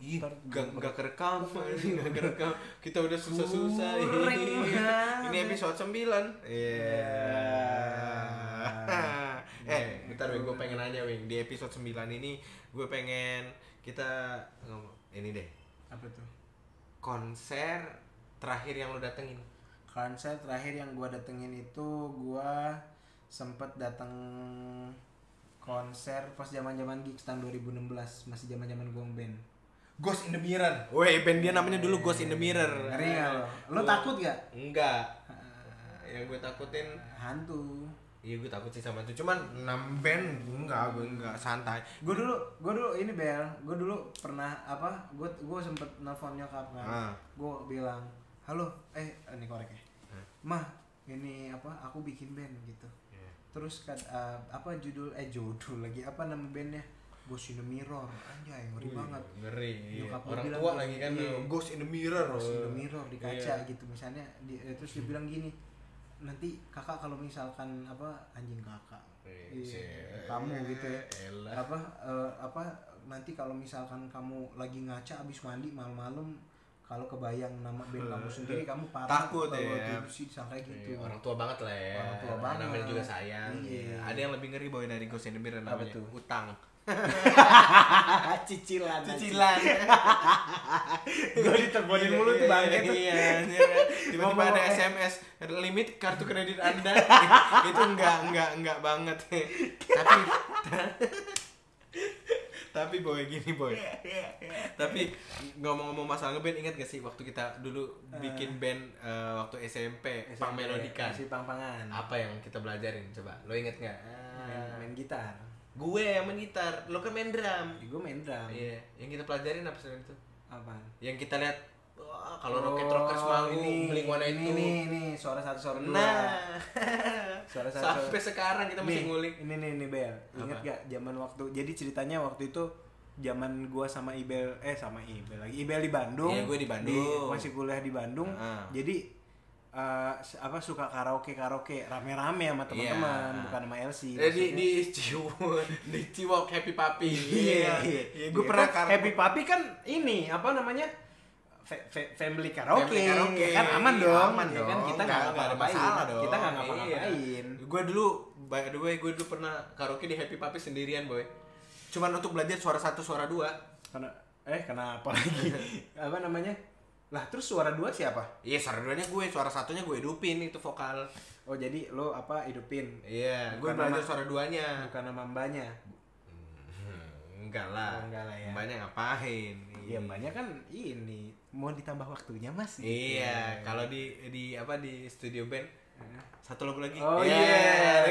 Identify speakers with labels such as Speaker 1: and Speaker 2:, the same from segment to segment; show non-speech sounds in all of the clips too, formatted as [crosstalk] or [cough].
Speaker 1: Ih,
Speaker 2: Ntar
Speaker 1: gak, gak kerekam, [laughs] gak kerekam. Kita udah susah-susah.
Speaker 2: Goreng
Speaker 1: Ini episode 9. Iya. eh, bentar Wing, gue pengen nanya Wing. Di episode 9 ini gue pengen kita ngomong ini deh.
Speaker 2: apa tuh
Speaker 1: Konser terakhir yang lo datengin.
Speaker 2: konser terakhir yang gua datengin itu gua sempet datang konser pas zaman zaman gigs tahun 2016 masih zaman zaman gua band Ghost in the Mirror
Speaker 1: Weh, band dia namanya dulu Ghost in the Mirror.
Speaker 2: ngeri nggak lo lo
Speaker 1: Gua-
Speaker 2: takut gak
Speaker 1: Enggak. Yang gue takutin
Speaker 2: Eh, hantu
Speaker 1: Iya gue takut sih sama itu Cuman 6 band Enggak gue enggak Santai
Speaker 2: gue dulu gue dulu ini bel gue dulu pernah apa gue gue sempet nelfon nyokap kan
Speaker 1: Ah.
Speaker 2: gue bilang halo eh ini korek ya mah ini apa aku bikin band gitu
Speaker 1: Iya.
Speaker 2: terus kan eh, apa judul eh judul lagi apa nama bandnya Ghost in the Mirror anjay ngeri
Speaker 1: Wih,
Speaker 2: banget
Speaker 1: Ngeri iya.
Speaker 2: Nyokap gua
Speaker 1: Orang
Speaker 2: bilang,
Speaker 1: tua lagi kan
Speaker 2: iya.
Speaker 1: Ghost in the mirror
Speaker 2: Ghost in the Mirror di kaca
Speaker 1: Iya.
Speaker 2: gitu misalnya di, eh, terus dia bilang gini nanti kakak kalau misalkan apa anjing kakak
Speaker 1: Iya,
Speaker 2: Iya,
Speaker 1: sih.
Speaker 2: kamu gitu ya
Speaker 1: Elah.
Speaker 2: apa eh, apa nanti kalau misalkan kamu lagi ngaca abis mandi malam-malam kalau kebayang nama band kamu sendiri kamu parah
Speaker 1: Takut
Speaker 2: kalau
Speaker 1: ya.
Speaker 2: tidur sih disangka gitu
Speaker 1: Iya, [laughs] Orang tua banget lah ya
Speaker 2: Orang tua banget.
Speaker 1: Namanya juga sayang
Speaker 2: Iya.
Speaker 1: Ada yang lebih ngeri boy dari Ghost in the mirror
Speaker 2: Apa
Speaker 1: namanya
Speaker 2: tuh?
Speaker 1: Utang Ah,
Speaker 2: cicilan
Speaker 1: [laughs] Gue diteleponin
Speaker 2: mulu tuh, bangke tuh.
Speaker 1: Iya iya. Tiba-tiba
Speaker 2: Ngomong,
Speaker 1: ada
Speaker 2: eh.
Speaker 1: SMS Limit kartu kredit [laughs] anda Itu enggak Enggak enggak banget Tapi [laughs] Tapi boy gini boy iya. Tapi ngomong-ngomong masalah ngeband Ingat gak sih waktu kita dulu bikin band eh, Waktu SMP, Pang Melodikan
Speaker 2: si ya? pang-pangan
Speaker 1: Apa yang kita belajarin coba Lo inget gak? Ah,
Speaker 2: main, main gitar
Speaker 1: Gue yang main gitar Lo kan main drum
Speaker 2: gue main drum
Speaker 1: Iya, yang kita pelajarin apa selain itu?
Speaker 2: apa
Speaker 1: yang kita lihat wah, kalau rocket rockers manggung beli warna
Speaker 2: Oh, ini
Speaker 1: itu
Speaker 2: ini ini suara satu suara dua
Speaker 1: nah
Speaker 2: [laughs] Suara satu,
Speaker 1: sampai
Speaker 2: suara-
Speaker 1: sekarang kita masih
Speaker 2: Nih,
Speaker 1: ngulik
Speaker 2: Ini nih nih Bel. Ingat
Speaker 1: Apa?
Speaker 2: gak zaman waktu jadi ceritanya waktu itu zaman gua sama Ibel eh sama Ibel lagi Ibel di Bandung.
Speaker 1: Iya, gua di Bandung.
Speaker 2: Di- masih kuliah di Bandung.
Speaker 1: Ah.
Speaker 2: Jadi eh, apa suka karaoke karaoke rame-rame sama teman-teman
Speaker 1: Iya.
Speaker 2: bukan sama LC.
Speaker 1: jadi
Speaker 2: maksudnya.
Speaker 1: di ciwok [laughs] di ciwok happy papi
Speaker 2: Iya, iya.
Speaker 1: gue pernah
Speaker 2: Kan
Speaker 1: kar-
Speaker 2: Happy Papi kan ini apa namanya? Fa- fa- family karaoke.
Speaker 1: Family karaoke.
Speaker 2: Kan aman dong.
Speaker 1: Iya, Aman
Speaker 2: ya
Speaker 1: dong.
Speaker 2: kan kita nggak
Speaker 1: Nggak- nggak ada
Speaker 2: ngapa-ngapain.
Speaker 1: masalah dong.
Speaker 2: Kita nggak
Speaker 1: Iya.
Speaker 2: ngapa-ngapain.
Speaker 1: Gue dulu, by the way, gue dulu pernah karaoke di Happy Papi sendirian, boy. Cuman untuk belajar suara satu, suara dua.
Speaker 2: Karena eh kenapa
Speaker 1: [laughs]
Speaker 2: lagi? apa namanya? Lah terus suara dua siapa?
Speaker 1: Iya, suara duanya gue, suara satunya gue hidupin itu vokal.
Speaker 2: Oh jadi lo apa hidupin?
Speaker 1: Iya, gue
Speaker 2: Bukan
Speaker 1: belajar
Speaker 2: nama-
Speaker 1: suara duanya.
Speaker 2: Bukan nama mbaknya.
Speaker 1: Hmm, enggak lah.
Speaker 2: Oh, enggak lah ya.
Speaker 1: Mbaknya ngapain?
Speaker 2: Iya mbaknya kan ini mau ditambah waktunya mas.
Speaker 1: Iya, kalau di di apa di studio band satu lagu lagi.
Speaker 2: Iya. Oh iya.
Speaker 1: Iya,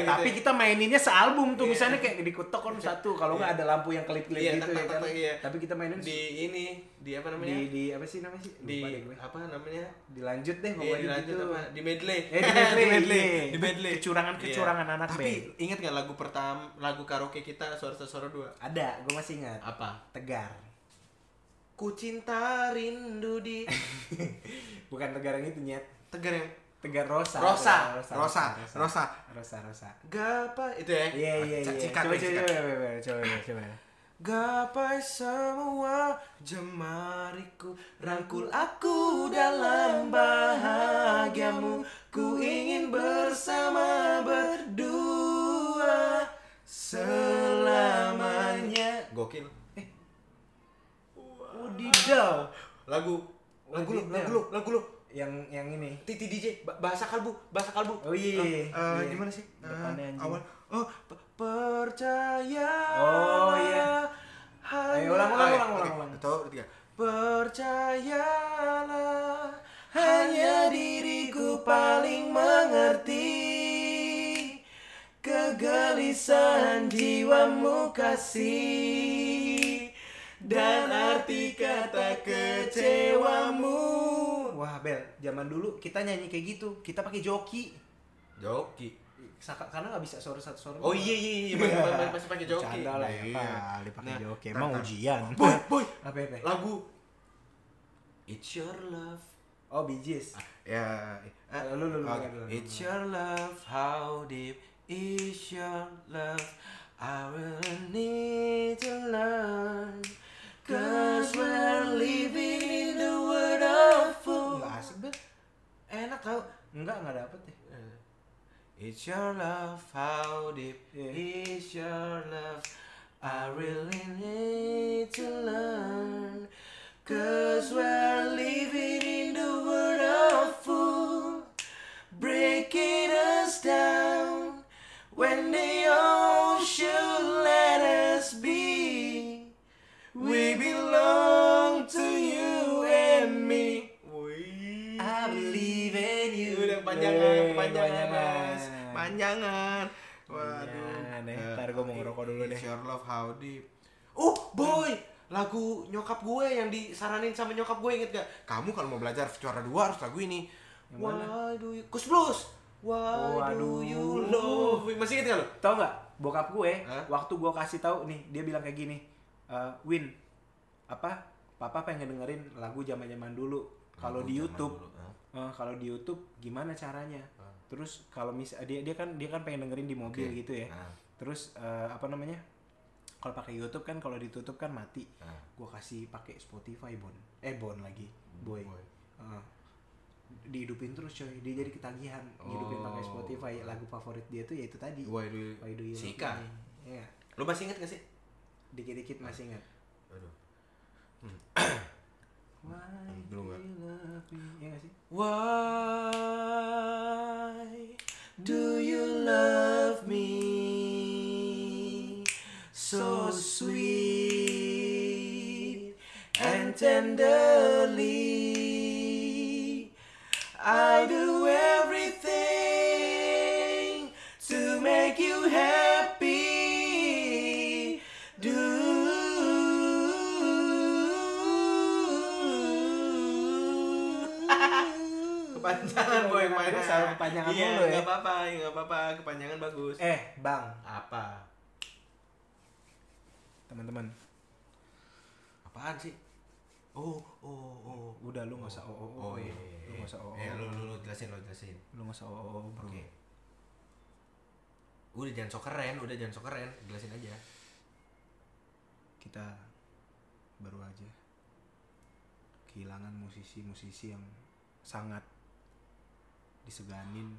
Speaker 1: gitu.
Speaker 2: Tapi kita maininnya sealbum tuh
Speaker 1: Iya.
Speaker 2: misalnya kayak di kotak kan satu kalau nggak ada lampu yang kelip-kelip
Speaker 1: Iya,
Speaker 2: gitu
Speaker 1: tak,
Speaker 2: ya
Speaker 1: tak,
Speaker 2: kan.
Speaker 1: tak, iya.
Speaker 2: Tapi kita mainin
Speaker 1: di ini di apa
Speaker 2: di,
Speaker 1: namanya? Di,
Speaker 2: di apa sih namanya sih? Lupa deh gue.
Speaker 1: apa namanya?
Speaker 2: Dilanjut deh
Speaker 1: Iya,
Speaker 2: pokoknya
Speaker 1: di lanjut
Speaker 2: gitu.
Speaker 1: apa? Di medley.
Speaker 2: Eh, di medley, iya.
Speaker 1: [laughs] Di medley.
Speaker 2: Kecurangan-kecurangan
Speaker 1: Iya.
Speaker 2: anak
Speaker 1: Tapi ingat nggak lagu pertama lagu karaoke kita suara suara dua?
Speaker 2: Ada, gue masih ingat.
Speaker 1: Apa?
Speaker 2: Tegar. [laughs]
Speaker 1: Ku cinta rindu
Speaker 2: [laughs]
Speaker 1: di
Speaker 2: Bukan tegar yang itu nyet.
Speaker 1: tegar ya? yang
Speaker 2: Tegar Rosa.
Speaker 1: Rosa.
Speaker 2: Rosa.
Speaker 1: Rosa. Rosa.
Speaker 2: Rosa. Rosa.
Speaker 1: gapai itu ya?
Speaker 2: Iya iya iya.
Speaker 1: Cikat,
Speaker 2: Coba coba
Speaker 1: cikat.
Speaker 2: coba coba coba coba.
Speaker 1: Gapai semua jemariku Rangkul aku dalam bahagiamu Ku ingin bersama berdua Selamanya Oh, Gokil
Speaker 2: Wadidaw.
Speaker 1: Lagu ya. Lagu lu, lagu lu, lagu lu
Speaker 2: Yang yang ini.
Speaker 1: Titi DJ, ba- bahasa kalbu, bahasa kalbu
Speaker 2: Oh iya. iya,
Speaker 1: Eh, eh,
Speaker 2: iya.
Speaker 1: gimana sih? Eh,
Speaker 2: Depannya anjing.
Speaker 1: awal. Oh, pe- percaya.
Speaker 2: Oh, iya.
Speaker 1: hanya-
Speaker 2: Ayo, ulang, ulang, ulang,
Speaker 1: Ah, iya. Oke,
Speaker 2: ulang, ulang.
Speaker 1: Satu, tiga. Percayalah hanya diriku paling mengerti kegelisahan jiwamu kasih dan arti kata kecewamu.
Speaker 2: Wah Bel, zaman dulu kita nyanyi kayak gitu, kita pakai joki.
Speaker 1: Joki.
Speaker 2: Saka- Karena nggak bisa sore satu sore.
Speaker 1: Oh iya iya iya masih, masih, masih pakai joki.
Speaker 2: Canda lah ya
Speaker 1: Iya.
Speaker 2: kali pakai
Speaker 1: Nah,
Speaker 2: joki.
Speaker 1: tar,
Speaker 2: Emang
Speaker 1: tar.
Speaker 2: ujian.
Speaker 1: Boy, boy.
Speaker 2: Apa apa?
Speaker 1: Lagu It's your love.
Speaker 2: Oh bijis.
Speaker 1: Ya,
Speaker 2: eh, Lu, lu, lu,
Speaker 1: oke.
Speaker 2: lu, lu, lu.
Speaker 1: It's your love, how deep is your love? I will need to learn. Cause we're living in the world of fool.
Speaker 2: Nggak asik Bel. Enak tau. Enggak, enggak dapet deh.
Speaker 1: Uh, It's your love, how deep
Speaker 2: Yeah.
Speaker 1: is your love? I really need to learn. Cause we're living in the world of fool. Breaking us down when they all should let us be. We belong to you and me. I believe in you. Udah kepanjangan,
Speaker 2: Wey,
Speaker 1: kepanjangan,
Speaker 2: kepanjangan.
Speaker 1: Mas. Panjangan. Waduh.
Speaker 2: Kepanjangan, eh.
Speaker 1: Eh,
Speaker 2: Ntar gua mau ngerokok dulu deh.
Speaker 1: It's your love how deep. Oh, boy. Lagu nyokap gue yang disaranin sama nyokap gue inget gak? Kamu kalau mau belajar juara dua harus lagu ini.
Speaker 2: Yang mana?
Speaker 1: Why do you... Kus Blues. Why
Speaker 2: Waduh.
Speaker 1: do you love me? Masih inget gak lo?
Speaker 2: Tau nggak? Bokap gue,
Speaker 1: Hah?
Speaker 2: waktu gue kasih tahu nih, dia bilang kayak gini, "Eh, Win, apa? Papa pengen dengerin lagu zaman zaman dulu. Kalau di YouTube, Eh, kalau di YouTube gimana caranya? Terus kalau mis dia dia kan dia kan pengen dengerin di mobil
Speaker 1: Oke.
Speaker 2: gitu ya.
Speaker 1: Ah.
Speaker 2: Terus eh, apa namanya? Kalau pakai YouTube kan kalau ditutup kan mati.
Speaker 1: Ah.
Speaker 2: Gua kasih pakai Spotify Bon. Eh Bon lagi, boy.
Speaker 1: Hmm, Boy.
Speaker 2: Heeh. dihidupin terus coy. Dia jadi ketagihan dihidupin pakai
Speaker 1: Oh.
Speaker 2: Spotify. Lagu favorit dia tuh yaitu tadi.
Speaker 1: Why do you...
Speaker 2: Why do you love
Speaker 1: Sika.
Speaker 2: me? Iya.
Speaker 1: Lo masih inget gak sih?
Speaker 2: Dikit-dikit masih ingat.
Speaker 1: Aduh.
Speaker 2: Why do
Speaker 1: Hmm, Belum
Speaker 2: you
Speaker 1: nggak?
Speaker 2: love me? Iya nggak sih?
Speaker 1: Why do you love me so sweet and tenderly? I do everything to make you happy. Do kepanjangan boy yang mainnya
Speaker 2: Terus harus kepanjangan
Speaker 1: iya,
Speaker 2: mulu ya.
Speaker 1: nggak apa-apa nggak apa-apa kepanjangan bagus
Speaker 2: Eh, Bang,
Speaker 1: apa
Speaker 2: teman-teman,
Speaker 1: apaan sih oh oh oh
Speaker 2: udah lu nggak usah oh oh, oh.
Speaker 1: iya,
Speaker 2: lu nggak usah oh,
Speaker 1: Eh,
Speaker 2: oh.
Speaker 1: lu, lu, lu jelasin lu jelasin
Speaker 2: lu nggak usah oh, oh, oh, bro
Speaker 1: oke udah jangan sok keren udah jangan sok keren jelasin aja
Speaker 2: kita baru aja kehilangan musisi-musisi yang sangat diseganin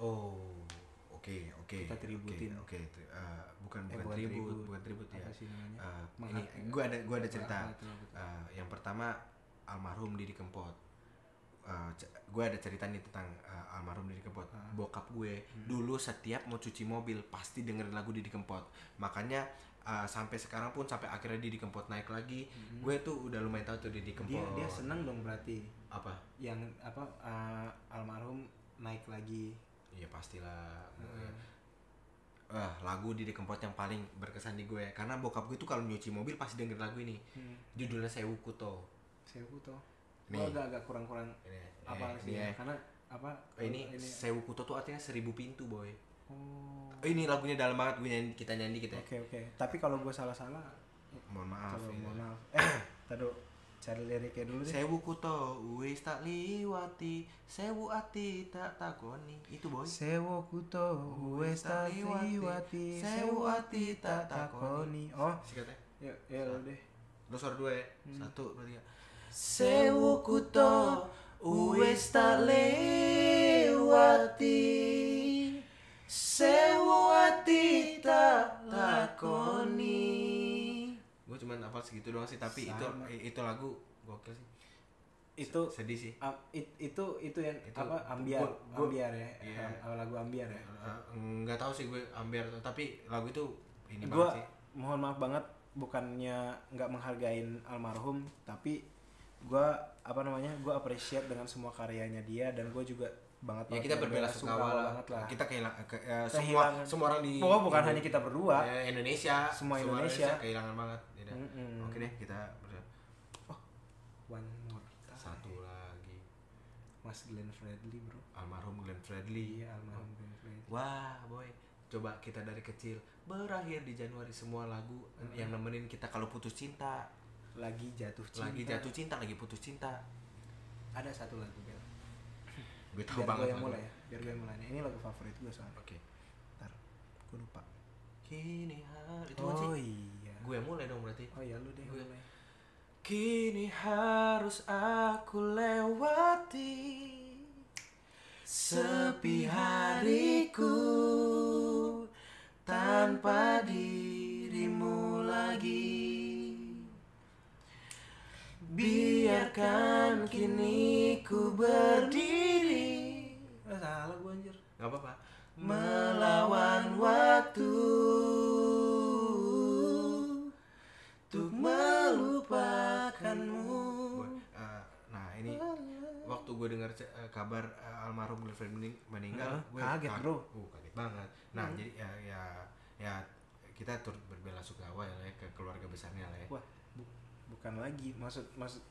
Speaker 1: oh oke oke
Speaker 2: Kita
Speaker 1: oke,
Speaker 2: tributin.
Speaker 1: oke tri- eh, bukan
Speaker 2: Eh,
Speaker 1: bukan
Speaker 2: bukan
Speaker 1: tribut
Speaker 2: tribut.
Speaker 1: bukan tribut ya
Speaker 2: apa sih namanya
Speaker 1: Eh, ini
Speaker 2: Menghargai.
Speaker 1: gue ada gue ada cerita
Speaker 2: Apa itu, apa itu?
Speaker 1: Eh, yang pertama almarhum Didi Kempot. gue ada cerita nih tentang eh, almarhum Didi Kempot.
Speaker 2: Ah.
Speaker 1: Bokap gue
Speaker 2: Hmm.
Speaker 1: dulu setiap mau cuci mobil pasti dengerin lagu Didi Kempot. Makanya eh, sampai sekarang pun sampai akhirnya Didi Kempot naik lagi. Gue tuh udah lumayan tahu tuh Didi Kempot.
Speaker 2: Hmm. dia dia seneng dong berarti
Speaker 1: apa?
Speaker 2: yang apa eh, almarhum naik lagi
Speaker 1: Iya pastilah.
Speaker 2: Hmm.
Speaker 1: Eh, lagu Didi Kempot yang paling berkesan di gue karena bokap gue tuh kalau nyuci mobil pasti dengerin lagu ini.
Speaker 2: Hmm.
Speaker 1: Judulnya Sewu
Speaker 2: Oh,
Speaker 1: Kuto.
Speaker 2: saya butuh
Speaker 1: Nih.
Speaker 2: gua agak agak kurang-kurang
Speaker 1: Ini,
Speaker 2: apa
Speaker 1: ini,
Speaker 2: sih
Speaker 1: ya.
Speaker 2: karena apa
Speaker 1: Oh, ini,
Speaker 2: ini
Speaker 1: Sewu Kuto tuh artinya seribu pintu boy.
Speaker 2: oh
Speaker 1: Oh, ini lagunya dalam banget gue nyanyi kita nyanyi kita.
Speaker 2: Oke
Speaker 1: ya.
Speaker 2: oke, tapi kalau gue salah-salah,
Speaker 1: Mohon maaf.
Speaker 2: kalau
Speaker 1: ya.
Speaker 2: mohon maaf. [coughs] Eh, taruh cari liriknya dulu deh.
Speaker 1: Sewu kuto wis tak liwati, sewu ati tak takoni. Itu boy.
Speaker 2: Sewo kuto wes tak liwati, sewo ati tak takoni. Oh,
Speaker 1: Sikatnya.
Speaker 2: ya ya lo deh.
Speaker 1: Lo suara dua ya. Satu, dua, tiga. Sewu kuto wis tak liwati, sewu ati tak takoni. Gue cuman hafal segitu doang sih, tapi
Speaker 2: Sama.
Speaker 1: itu itu lagu gokil sih.
Speaker 2: Itu
Speaker 1: Sedih sih.
Speaker 2: am- it- itu itu yang
Speaker 1: Itu-
Speaker 2: apa ambiar
Speaker 1: gua- gua-
Speaker 2: ambiar ya
Speaker 1: Iya.
Speaker 2: Am- lagu ambiar ya
Speaker 1: Uh, nggak tahu sih gue ambil tapi lagu itu ini
Speaker 2: gue
Speaker 1: banget sih
Speaker 2: mohon maaf banget bukannya nggak menghargain almarhum tapi gue apa namanya gue appreciate dengan semua karyanya dia dan gue juga banget
Speaker 1: ya kita berbela sungkawa lah.
Speaker 2: banget lah
Speaker 1: kita kehilangan ke, eh, semua
Speaker 2: Kehilangan.
Speaker 1: semua orang di
Speaker 2: Pokoknya bukan
Speaker 1: di-
Speaker 2: hanya kita berdua.
Speaker 1: eh, Indonesia
Speaker 2: Semua
Speaker 1: orang
Speaker 2: Indonesia. Hmm.
Speaker 1: kehilangan banget ya dah.
Speaker 2: Mm-mm.
Speaker 1: oke deh kita ber-
Speaker 2: one more time.
Speaker 1: satu lagi
Speaker 2: mas Glenn Fredly bro
Speaker 1: almarhum Glenn Fredly
Speaker 2: iya almarhum Glenn Fredly
Speaker 1: wah boy coba kita dari kecil berakhir di Januari semua lagu
Speaker 2: Hmm.
Speaker 1: yang nemenin kita kalau putus cinta
Speaker 2: lagi jatuh cinta
Speaker 1: lagi jatuh cinta lagi putus cinta
Speaker 2: ada satu lagu Bel
Speaker 1: gue tahu
Speaker 2: biar gue
Speaker 1: banget
Speaker 2: yang
Speaker 1: lagu.
Speaker 2: mulai ya biar gue yang mulai ini lagu favorit gue soalnya
Speaker 1: oke
Speaker 2: ntar gue lupa
Speaker 1: kini hari itu kan sih
Speaker 2: oh iya
Speaker 1: gue yang mulai dong berarti
Speaker 2: oh iya lu deh
Speaker 1: Gue.
Speaker 2: mulai
Speaker 1: Kini harus aku lewati Sepi hariku Tanpa dirimu lagi Biarkan kini ku berdiri
Speaker 2: Eh, salah gue anjir.
Speaker 1: Gak apa-apa Melawan waktu Untuk melupakanmu Eh, Nah ini Waktu gue dengar ce- eh, kabar eh, almarhum Glenn Fredly meninggal
Speaker 2: Heeh,
Speaker 1: gue
Speaker 2: kaget, bro.
Speaker 1: Uh, kaget banget Nah jadi ya, ya ya kita turut berbela sukawa ya, Le, ke keluarga besarnya lah ya
Speaker 2: Wah, bu- bukan lagi. Maksud maksud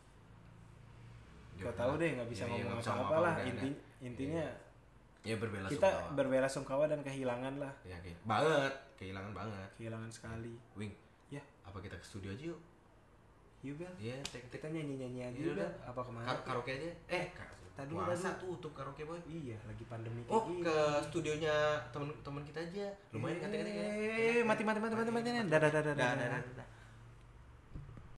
Speaker 1: Dia
Speaker 2: gak tahu
Speaker 1: udah-
Speaker 2: deh nggak bisa
Speaker 1: iya, iya,
Speaker 2: ngomong
Speaker 1: nggak bisa
Speaker 2: apa-apa lah.
Speaker 1: udah, udah.
Speaker 2: Inti- intinya
Speaker 1: ya berbela
Speaker 2: kita
Speaker 1: sukawa
Speaker 2: berbelasungkawa dan kehilangan lah.
Speaker 1: ya, kayak- banget kehilangan banget
Speaker 2: Kehilangan sekali.
Speaker 1: Wing
Speaker 2: Ya.
Speaker 1: apa kita ke studio aja yuk
Speaker 2: Yuk Bel,
Speaker 1: Iya, tek tek
Speaker 2: kita nyanyi-nyanyi aja
Speaker 1: Iya,
Speaker 2: yuk, Bel.
Speaker 1: udah.
Speaker 2: Apa kemana?
Speaker 1: Kar- karaoke aja. Eh, kar-
Speaker 2: Tadi dulu,
Speaker 1: puasa
Speaker 2: tadi
Speaker 1: tuh tuh karaoke boy.
Speaker 2: Iya, lagi pandemi kayak
Speaker 1: Oh,
Speaker 2: gini.
Speaker 1: ke studionya temen-temen kita aja. Lumayan katanya katanya.
Speaker 2: Eh, mati mati mati mati mati. Dadah dadah dadah.
Speaker 1: Dadah, dadah, dadah.